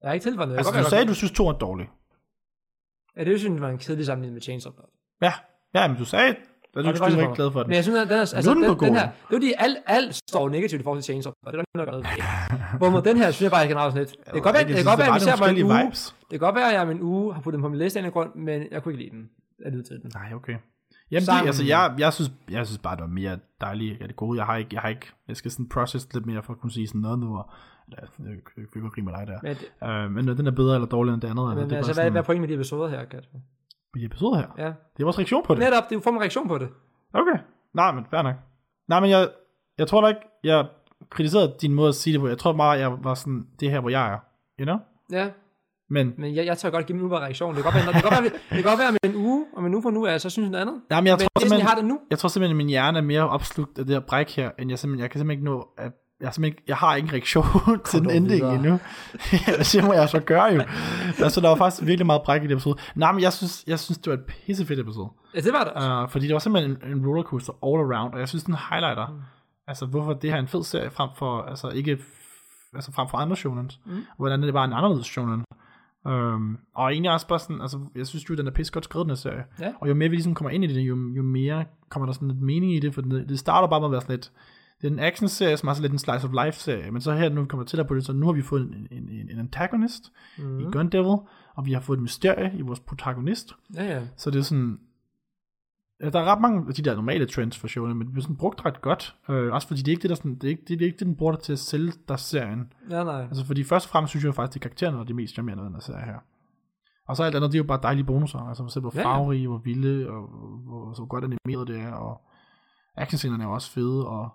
Speaker 2: Jeg har ikke tilføjet noget. Jeg
Speaker 1: Altså,
Speaker 2: kan
Speaker 1: du
Speaker 2: godt være
Speaker 1: sagde, du synes, to er dårlig.
Speaker 2: godt- Ja, det synes jeg var en kedelig sammenligning med Chainsaw Blood.
Speaker 1: Ja, ja, men du sagde, at du,
Speaker 2: Og
Speaker 1: ikke-
Speaker 2: det var
Speaker 1: du var
Speaker 2: sjovt.
Speaker 1: ikke glad for den.
Speaker 2: Men jeg synes, at den, er, altså,
Speaker 1: Nu er den
Speaker 2: den,
Speaker 1: på
Speaker 2: den
Speaker 1: gulvet.
Speaker 2: her, det er jo fordi, alt, alt står negativt i forhold til Chainsaw, og det er der ikke noget, der ved. Hvor mod den her, synes jeg bare, jeg kan sådan lidt. Det kan godt være,
Speaker 1: Jeg
Speaker 2: det
Speaker 1: synes,
Speaker 2: kan godt
Speaker 1: der
Speaker 2: være,
Speaker 1: var
Speaker 2: at vi ser
Speaker 1: nogle
Speaker 2: mig en
Speaker 1: forskellige
Speaker 2: uge.
Speaker 1: vibes.
Speaker 2: Det kan godt være, at jeg om en uge har puttet den på min liste af en eller anden grund, men jeg kunne ikke lide den. Jeg lyder til den.
Speaker 1: Nej, okay. Jamen, det,
Speaker 2: Sangen-
Speaker 1: altså, jeg, jeg, synes, jeg synes bare, det var mere dejligt af det gode. Jeg har ikke, jeg har ikke, jeg skal sådan process lidt mere for at kunne sige sådan noget nu, og eller, altså, jeg kan ikke rime med dig der.
Speaker 2: Men, det-
Speaker 1: Øh, men når den er bedre eller dårligere end det andet,
Speaker 2: men
Speaker 1: eller, det er
Speaker 2: altså,
Speaker 1: bare
Speaker 2: hvad,
Speaker 1: sådan,
Speaker 2: hvad er pointen med de episoder her, Kat?
Speaker 1: i episode her.
Speaker 2: Ja.
Speaker 1: Det er vores reaktion på det.
Speaker 2: Netop, det er jo for en reaktion på det.
Speaker 1: Okay. Nej, men fair nok. Nej, men jeg, jeg tror da ikke, jeg kritiserede din måde at sige det på. Jeg tror bare, jeg var sådan, det er her, hvor jeg er. You know?
Speaker 2: Ja,
Speaker 1: Men
Speaker 2: men jeg, jeg tør godt give min umiddelbare reaktion. Det kan godt være, det kan godt være, det kan godt være med en uge, og med en uge fra nu, er jeg så synes jeg noget andet.
Speaker 1: Nej, men jeg
Speaker 2: Men
Speaker 1: tror
Speaker 2: det er sådan,
Speaker 1: simpelthen,
Speaker 2: jeg har det nu.
Speaker 1: Jeg tror simpelthen, at min hjerne er mere opslugt af det her bræk her, end jeg simpelthen, jeg kan simpelthen ikke nå, at jeg, har simpelthen ikke, jeg har ikke en reaktion (laughs) til den
Speaker 2: dog
Speaker 1: ending
Speaker 2: videre.
Speaker 1: endnu. (laughs) det må jeg så gøre jo. altså, der var faktisk virkelig meget bræk i det episode. Nej, men jeg synes, jeg synes det var et pissefedt episode.
Speaker 2: Ja, det var det.
Speaker 1: Uh, fordi det var simpelthen en, en rollercoaster all around, og jeg synes, den highlighter, mm. altså hvorfor det her er en fed serie, frem for, altså ikke, f- altså frem for andre shonens, mm. hvordan det var en anderledes shonen. Um, og egentlig også bare sådan, altså jeg synes jo, den er pisse godt skrevet, den her serie.
Speaker 2: Ja.
Speaker 1: Og jo mere vi ligesom kommer ind i det, jo, jo mere kommer der sådan lidt mening i det, for det, det starter bare med at være sådan lidt, det er en action-serie, som er sådan lidt en slice of life-serie, men så her, nu kommer til på det, så nu har vi fået en, en, en, en antagonist mm. i Gun Devil, og vi har fået et mysterie i vores protagonist,
Speaker 2: Ja, ja.
Speaker 1: så det er sådan... ja, Der er ret mange af de der normale trends for showene, men det bliver sådan brugt ret godt. Øh, også fordi det er ikke det, der sådan, det er ikke, det er ikke det, den bruger dig til at sælge dig serien.
Speaker 2: Ja, nej.
Speaker 1: Altså fordi først og fremmest synes jeg faktisk, at karaktererne er det mest charmerende af den her serie her. Og så alt andet, det er jo bare dejlige bonusser. Altså for eksempel hvor
Speaker 2: Ja, ja.
Speaker 1: farverige, hvor vilde, og hvor, så godt animeret det er, og actionscenerne er jo også fede, og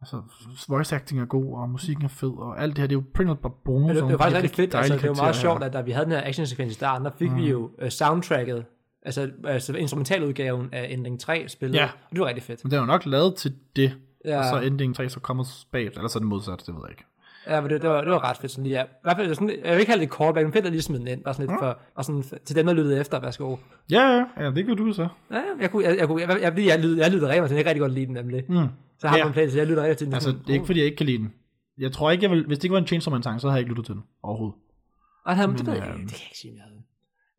Speaker 1: altså voice acting er god, og musikken er fed, og alt det her, det er jo primært bare bonusser.
Speaker 2: Men det, det var
Speaker 1: om de
Speaker 2: faktisk
Speaker 1: her
Speaker 2: rigtig fedt,
Speaker 1: dejlige
Speaker 2: altså det var meget
Speaker 1: karakterer her.
Speaker 2: sjovt, at da vi havde den her actionsekvens i starten, der fik mm. vi jo uh, soundtracket, altså, altså instrumentaludgaven af Ending 3 spillet,
Speaker 1: Ja.
Speaker 2: og det var rigtig fedt.
Speaker 1: Men den er jo nok lavet til det,
Speaker 2: Ja,
Speaker 1: Og så er ending 3 så kommet bag, eller så er det modsat, det ved jeg ikke.
Speaker 2: ja men det, det, var, det var ret fedt sådan lige, ja. I hvert fald, sådan, jeg vil ikke have det callback, men fedt at lige smide den ind, bare sådan lidt mm. for, og sådan, for- til dem, der lyttede efter, værsgo.
Speaker 1: Ja, ja, ja, det kan du så.
Speaker 2: Ja, ja, jeg, kunne, jeg, jeg, kunne, jeg, jeg, jeg, jeg, lyttede, jeg lyttede rigtig meget til den, jeg kan rigtig godt lide den nemlig. Mm. Så har
Speaker 1: Ja.
Speaker 2: man en plan til, jeg lytter rigtig til den.
Speaker 1: Altså, det er ikke, fordi jeg ikke kan lide den. Jeg tror ikke, jeg vil, hvis det ikke var en Chainsaw Man-sang, så havde jeg ikke lyttet til den overhovedet.
Speaker 2: Og han, det, ved jeg,
Speaker 1: øh,
Speaker 2: ikke, det kan jeg ikke sige, om jeg havde.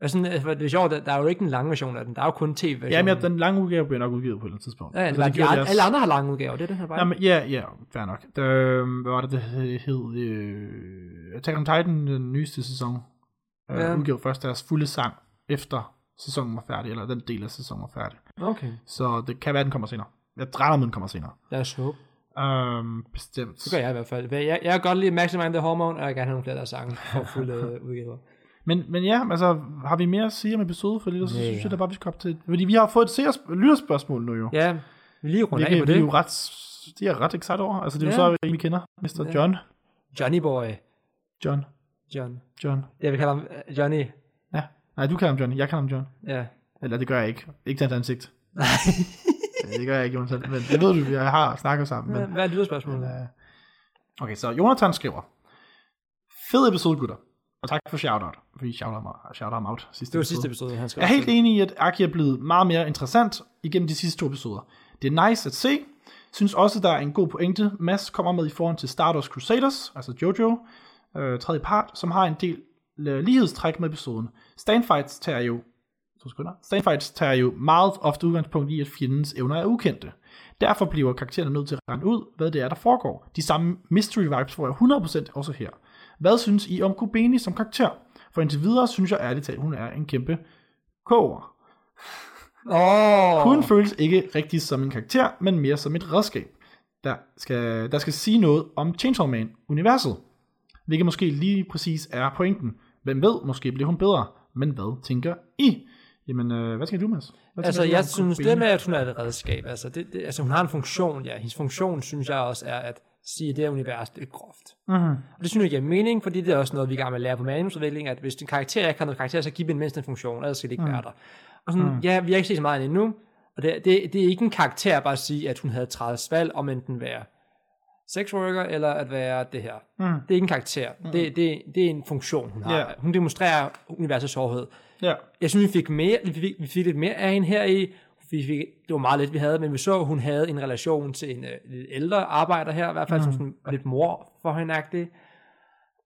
Speaker 2: Og sådan, altså, det er sjovt, der, der er jo ikke en lang version af den, der er jo kun tv-versionen.
Speaker 1: Ja, men jeg, den lange udgave bliver nok udgivet på et eller andet tidspunkt.
Speaker 2: Ja,
Speaker 1: Altså,
Speaker 2: altså,
Speaker 1: det
Speaker 2: de,
Speaker 1: gjorde
Speaker 2: alle,
Speaker 1: deres-
Speaker 2: alle andre har lange udgaver, det er den her bare.
Speaker 1: Jamen, ja, ja, fair nok. Øh, hvad var det, det hed- hed? Øh, Attack on Titan, den nyeste sæson, øh,
Speaker 2: Ja.
Speaker 1: udgav først deres fulde sang, efter sæsonen var færdig, eller den del af sæsonen var færdig.
Speaker 2: Okay.
Speaker 1: Så det kan være, den kommer senere. Jeg regner med, den kommer senere.
Speaker 2: Lad os håbe.
Speaker 1: Øhm, bestemt.
Speaker 2: Det gør jeg i hvert fald. Hvad- Jeg, jeg kan godt lide Maximum the Hormone, og jeg gerne have nogle flere der sange for fulde øh, udgiver.
Speaker 1: Men, men ja, altså, har vi mere at sige om episode? For ellers så
Speaker 2: Ja,
Speaker 1: synes
Speaker 2: ja.
Speaker 1: jeg da bare, vi skal op til... Fordi vi har fået et seers- lytterspørgsmål nu jo.
Speaker 2: Ja, vi lige runder
Speaker 1: vi,
Speaker 2: af
Speaker 1: kan,
Speaker 2: på
Speaker 1: vi er
Speaker 2: det.
Speaker 1: jo ret... Det er jeg ret excited over. Altså, det er jo så,
Speaker 2: Ja.
Speaker 1: en, vi kender. Mr.
Speaker 2: Ja.
Speaker 1: John.
Speaker 2: Johnny Boy.
Speaker 1: John.
Speaker 2: John.
Speaker 1: John.
Speaker 2: Jeg vil kalde ham øh, Johnny.
Speaker 1: Ja. Nej, du kalder ham John. Jeg kalder ham John.
Speaker 2: Ja.
Speaker 1: Eller det gør jeg ikke. Ikke til hans ansigt. Ja, det gør jeg ikke, Jonathan. Men det ved du, jeg har snakket sammen. Men,
Speaker 2: Hvad er lyderspørgsmålet?
Speaker 1: øh, okay, så Jonathan skriver. Fed episode, gutter. Og tak for shoutout. Fordi shoutout mig- shout ham out sidste
Speaker 2: Det var sidste episode, han skrev.
Speaker 1: Jeg er helt enig i, at Aki er blevet meget mere interessant igennem de sidste to episoder. Det er nice at se. Synes også, der er en god pointe, Mads kommer med i forhold til Stardust Crusaders, altså Jojo, øh, tredje part, som har en del øh, lighedstræk med episoden. Standfights tager jo to sekunder. Standfights tager jo meget ofte udgangspunkt i, at fjendens evner er ukendte. Derfor bliver karaktererne nødt til at regne ud, hvad det er, der foregår. De samme mystery vibes får jeg 100% også her. Hvad synes I om Kubeni som karakter? For indtil videre synes jeg ærligt talt, hun er en kæmpe koger.
Speaker 2: Åh!
Speaker 1: Hun føles ikke rigtig som en karakter, men mere som et redskab, der skal, der skal sige noget om Chainsaw Man-universet. Hvilket måske lige præcis er pointen. Hvem ved, måske bliver hun bedre. Men hvad tænker I? Jamen, øh, hvad tænker du, Mads? Hvad
Speaker 2: Altså,
Speaker 1: tænker du
Speaker 2: jeg
Speaker 1: om
Speaker 2: synes,
Speaker 1: Kurt Bailey?
Speaker 2: det med, at hun er et redskab, altså, det, det, altså hun har en funktion, ja. Hendes funktion, synes jeg også, er at sige, at det her univers, det er groft.
Speaker 1: Mhm.
Speaker 2: Og det synes jeg giver mening, fordi det er også noget, vi gerne vil lære på manusudvikling, at hvis din karakter ikke har noget karakter, så giv den mindst en funktion, ellers skal det ikke være der. Og sådan, ja, vi har ikke set så meget af hende endnu, og det, det, det er ikke en karakter at bare sige, at hun havde 30 valg om enten være sexworker, eller at være det her. Mm.
Speaker 1: Mhm.
Speaker 2: Det er ikke en karakter. Mm. Det, det, det er en funktion, hun har.
Speaker 1: Ja.
Speaker 2: Hun demonstrerer universets sårhed
Speaker 1: Ja.
Speaker 2: jeg synes, vi fik, mere, vi fik, vi fik lidt mere af hende her i. Vi fik, det var meget lidt, vi havde, men vi så, at hun havde en relation til en øh, lidt ældre arbejder her, i hvert fald mm. som sådan, lidt mor for hende agtig.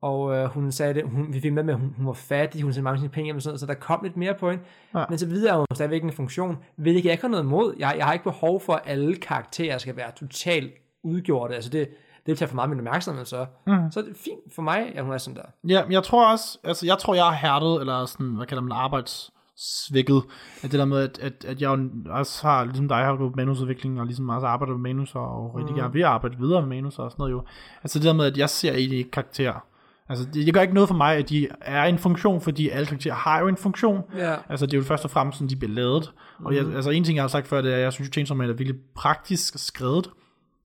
Speaker 2: Og øh, hun sagde det, hun, vi fik med med, at hun, hun var fattig, hun sendte mange af sine penge hjem og sådan noget, så der kom lidt mere på hende.
Speaker 1: Ja.
Speaker 2: Ja. Men så videre er hun stadigvæk en funktion, hvilket jeg ikke har noget imod. Jeg, jeg har ikke behov for, at alle karakterer skal være totalt udgjorte. Altså det, det vil tage for meget af min opmærksomhed så. Mm. Så er det fint for mig, at hun er sådan der.
Speaker 1: Ja, men jeg tror også, altså jeg tror, jeg er hærdet, eller sådan, hvad kalder man det, arbejdssvækket, at det der med, at, at, at jeg jo også har, ligesom dig, har gået på manusudvikling, og ligesom også arbejdet med manus, og rigtig gerne vil arbejde videre med manus og sådan noget jo. Altså det der med, at jeg ser egentlig ikke karakterer. Altså det, det gør ikke noget for mig, at de er en funktion, fordi alle karakterer har jo en funktion.
Speaker 2: Ja.
Speaker 1: Altså det er jo først og fremmest sådan, de bliver lavet. Og jeg, altså en ting, jeg har sagt før, det er, at jeg synes, Chainsaw Man er virkelig praktisk skredet.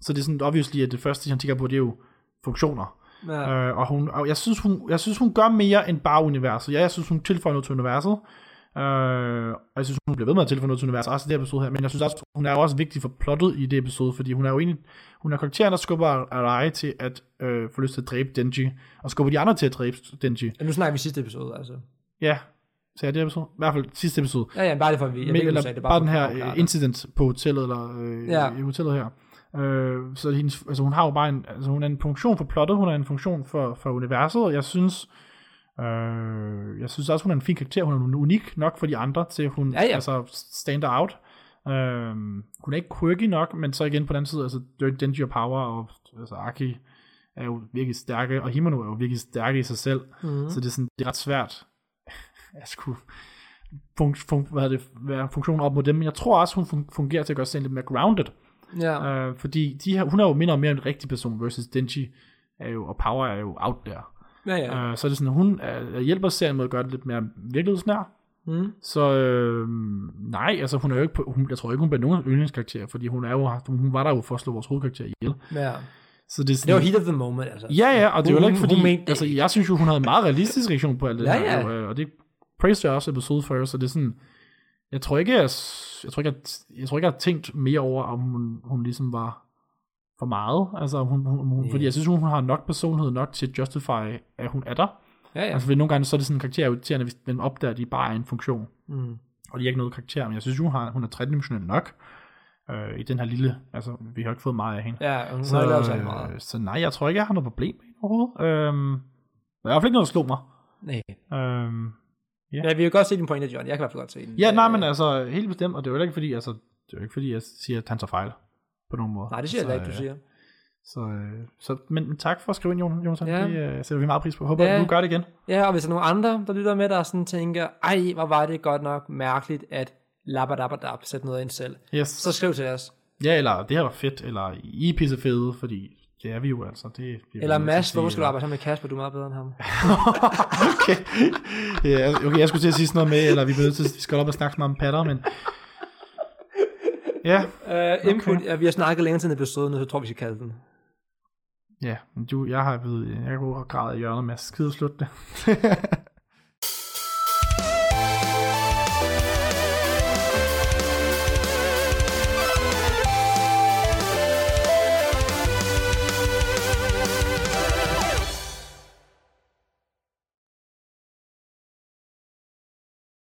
Speaker 1: Så det er sådan obviously, at det første, han tænker på, det er jo funktioner.
Speaker 2: Ja.
Speaker 1: Øh, og hun, og jeg, synes, hun, jeg synes, hun gør mere end bare universet. Jeg, jeg synes, hun tilføjer noget til universet. Øh, og jeg synes, hun bliver ved med at tilføje noget til universet, også i det her episode her. Men jeg synes også, hun er jo også vigtig for plottet i det episode, fordi hun er jo egentlig, hun er karakteren, der skubber Arai til at øh, få lyst til at dræbe Denji, og skubber de andre til at dræbe Denji.
Speaker 2: Nu snakker vi sidste episode, altså.
Speaker 1: Ja, så er det her episode. I hvert fald sidste episode.
Speaker 2: Ja, ja, bare det for, at vi... Jeg
Speaker 1: Men,
Speaker 2: ved ikke, om
Speaker 1: eller
Speaker 2: du sagde det,
Speaker 1: bare, bare
Speaker 2: for
Speaker 1: den
Speaker 2: at
Speaker 1: her
Speaker 2: opklare
Speaker 1: øh,
Speaker 2: det.
Speaker 1: incident på hotellet, eller øh,
Speaker 2: Ja.
Speaker 1: ja. i hotellet her. Øh, så hendes, altså hun har jo bare en, altså hun er en funktion for plottet, hun er en funktion for, for universet, og jeg synes, øh, jeg synes også, hun er en fin karakter, hun er unik nok for de andre, til hun
Speaker 2: Ja, ja.
Speaker 1: altså stander out. Øh, hun er ikke quirky nok, men så igen på den anden side, altså Dirty Danger Power og altså Aki er jo virkelig stærke, og Himeno er jo virkelig stærke i sig selv,
Speaker 2: Mhm.
Speaker 1: mm. så det er, sådan, det er ret svært (laughs) at skulle fun, fun, hvad hedder det, være funktionen op mod dem, men jeg tror også, hun fun- fungerer til at gøre sig lidt mere grounded,
Speaker 2: Ja.
Speaker 1: øh, fordi de her, hun er jo mindre om mere en rigtig person, versus Denji er jo, og Power er jo out der.
Speaker 2: Ja, ja.
Speaker 1: Øh, så er det sådan, at hun er, hjælper serien med at gøre det lidt mere virkelighedsnær,
Speaker 2: Mm.
Speaker 1: så øh, nej, altså hun er jo ikke, på, hun, jeg tror ikke, hun bliver nogen yndlingskarakter, fordi hun, er jo, hun var der jo for at slå vores hovedkarakter ihjel.
Speaker 2: ja.
Speaker 1: Så det er sådan,
Speaker 2: Det var heat of the moment, altså.
Speaker 1: Ja, ja, og det er jo heller ikke
Speaker 2: Hun- hun
Speaker 1: fordi...
Speaker 2: mente det
Speaker 1: altså, jeg synes jo, hun havde en meget realistisk reaktion på alt det
Speaker 2: Ja,
Speaker 1: her,
Speaker 2: ja.
Speaker 1: jo, øh, og det praised jeg også i episode 40, så det er sådan... Jeg tror ikke, jeg, s- jeg, tror ikke, jeg, t- jeg, tror ikke, jeg har tænkt mere over, om hun, hun ligesom var for meget. Altså, om hun, hun, hun,
Speaker 2: Ja.
Speaker 1: Fordi jeg synes, hun har nok personlighed nok til at justify, at hun er der.
Speaker 2: Ja, ja.
Speaker 1: Altså, fordi nogle gange så er det sådan en karakter, er irriterende, hvis man opdager, at de bare er en funktion.
Speaker 2: Mm.
Speaker 1: Og de er ikke noget karakter, men jeg synes, hun, har, hun er tredimensionel nok øh, i den her lille... Altså, vi har ikke fået meget af hende.
Speaker 2: Ja, og hun
Speaker 1: Så,
Speaker 2: har lavet sig meget.
Speaker 1: øh, så nej, jeg tror ikke, jeg har noget problem med det overhovedet. Øhm, der er i hvert fald ikke noget, der slog mig.
Speaker 2: Nej.
Speaker 1: Øhm,
Speaker 2: Ja, vi kan godt se din pointe, John. Jeg kan i hvert fald godt se den.
Speaker 1: ja, nej, men altså, helt bestemt, og det er jo heller ikke fordi, altså, det er jo ikke fordi, jeg siger, at han tager fejl på nogen måde.
Speaker 2: Nej, det siger
Speaker 1: så,
Speaker 2: jeg da ikke,
Speaker 1: øh,
Speaker 2: du siger.
Speaker 1: Så, øh, så, men men tak for at skrive ind, Jon- Jonathan. Ja.
Speaker 2: Ja.
Speaker 1: Det øh, sætter vi meget pris på. Håber,
Speaker 2: Ja.
Speaker 1: ja. du gør det igen.
Speaker 2: Ja, og hvis der er nogen andre, der lytter med, der sådan tænker, ej, hvor var det godt nok mærkeligt, at labadabadab, sætte noget ind selv.
Speaker 1: Yes.
Speaker 2: Så skriv til os.
Speaker 1: Ja, eller det her var fedt, eller I er pisse fede, fordi det er vi jo altså. Det, det
Speaker 2: Eller Mads, hvorfor skal du arbejde sammen med Kasper? Du er meget bedre end
Speaker 1: (laughs)
Speaker 2: ham.
Speaker 1: okay. (laughs) Ja, okay, jeg skulle til at sige sådan noget med, eller vi bliver nødt til, vi skal op og snakke meget om patter, men... Ja,
Speaker 2: Uh, input, okay. ja, vi har snakket længere til en episode, så jeg tror, vi skal kalde den.
Speaker 1: (laughs) ja, men du, jeg har ved, jeg kunne græde i hjørnet med at skide slut det.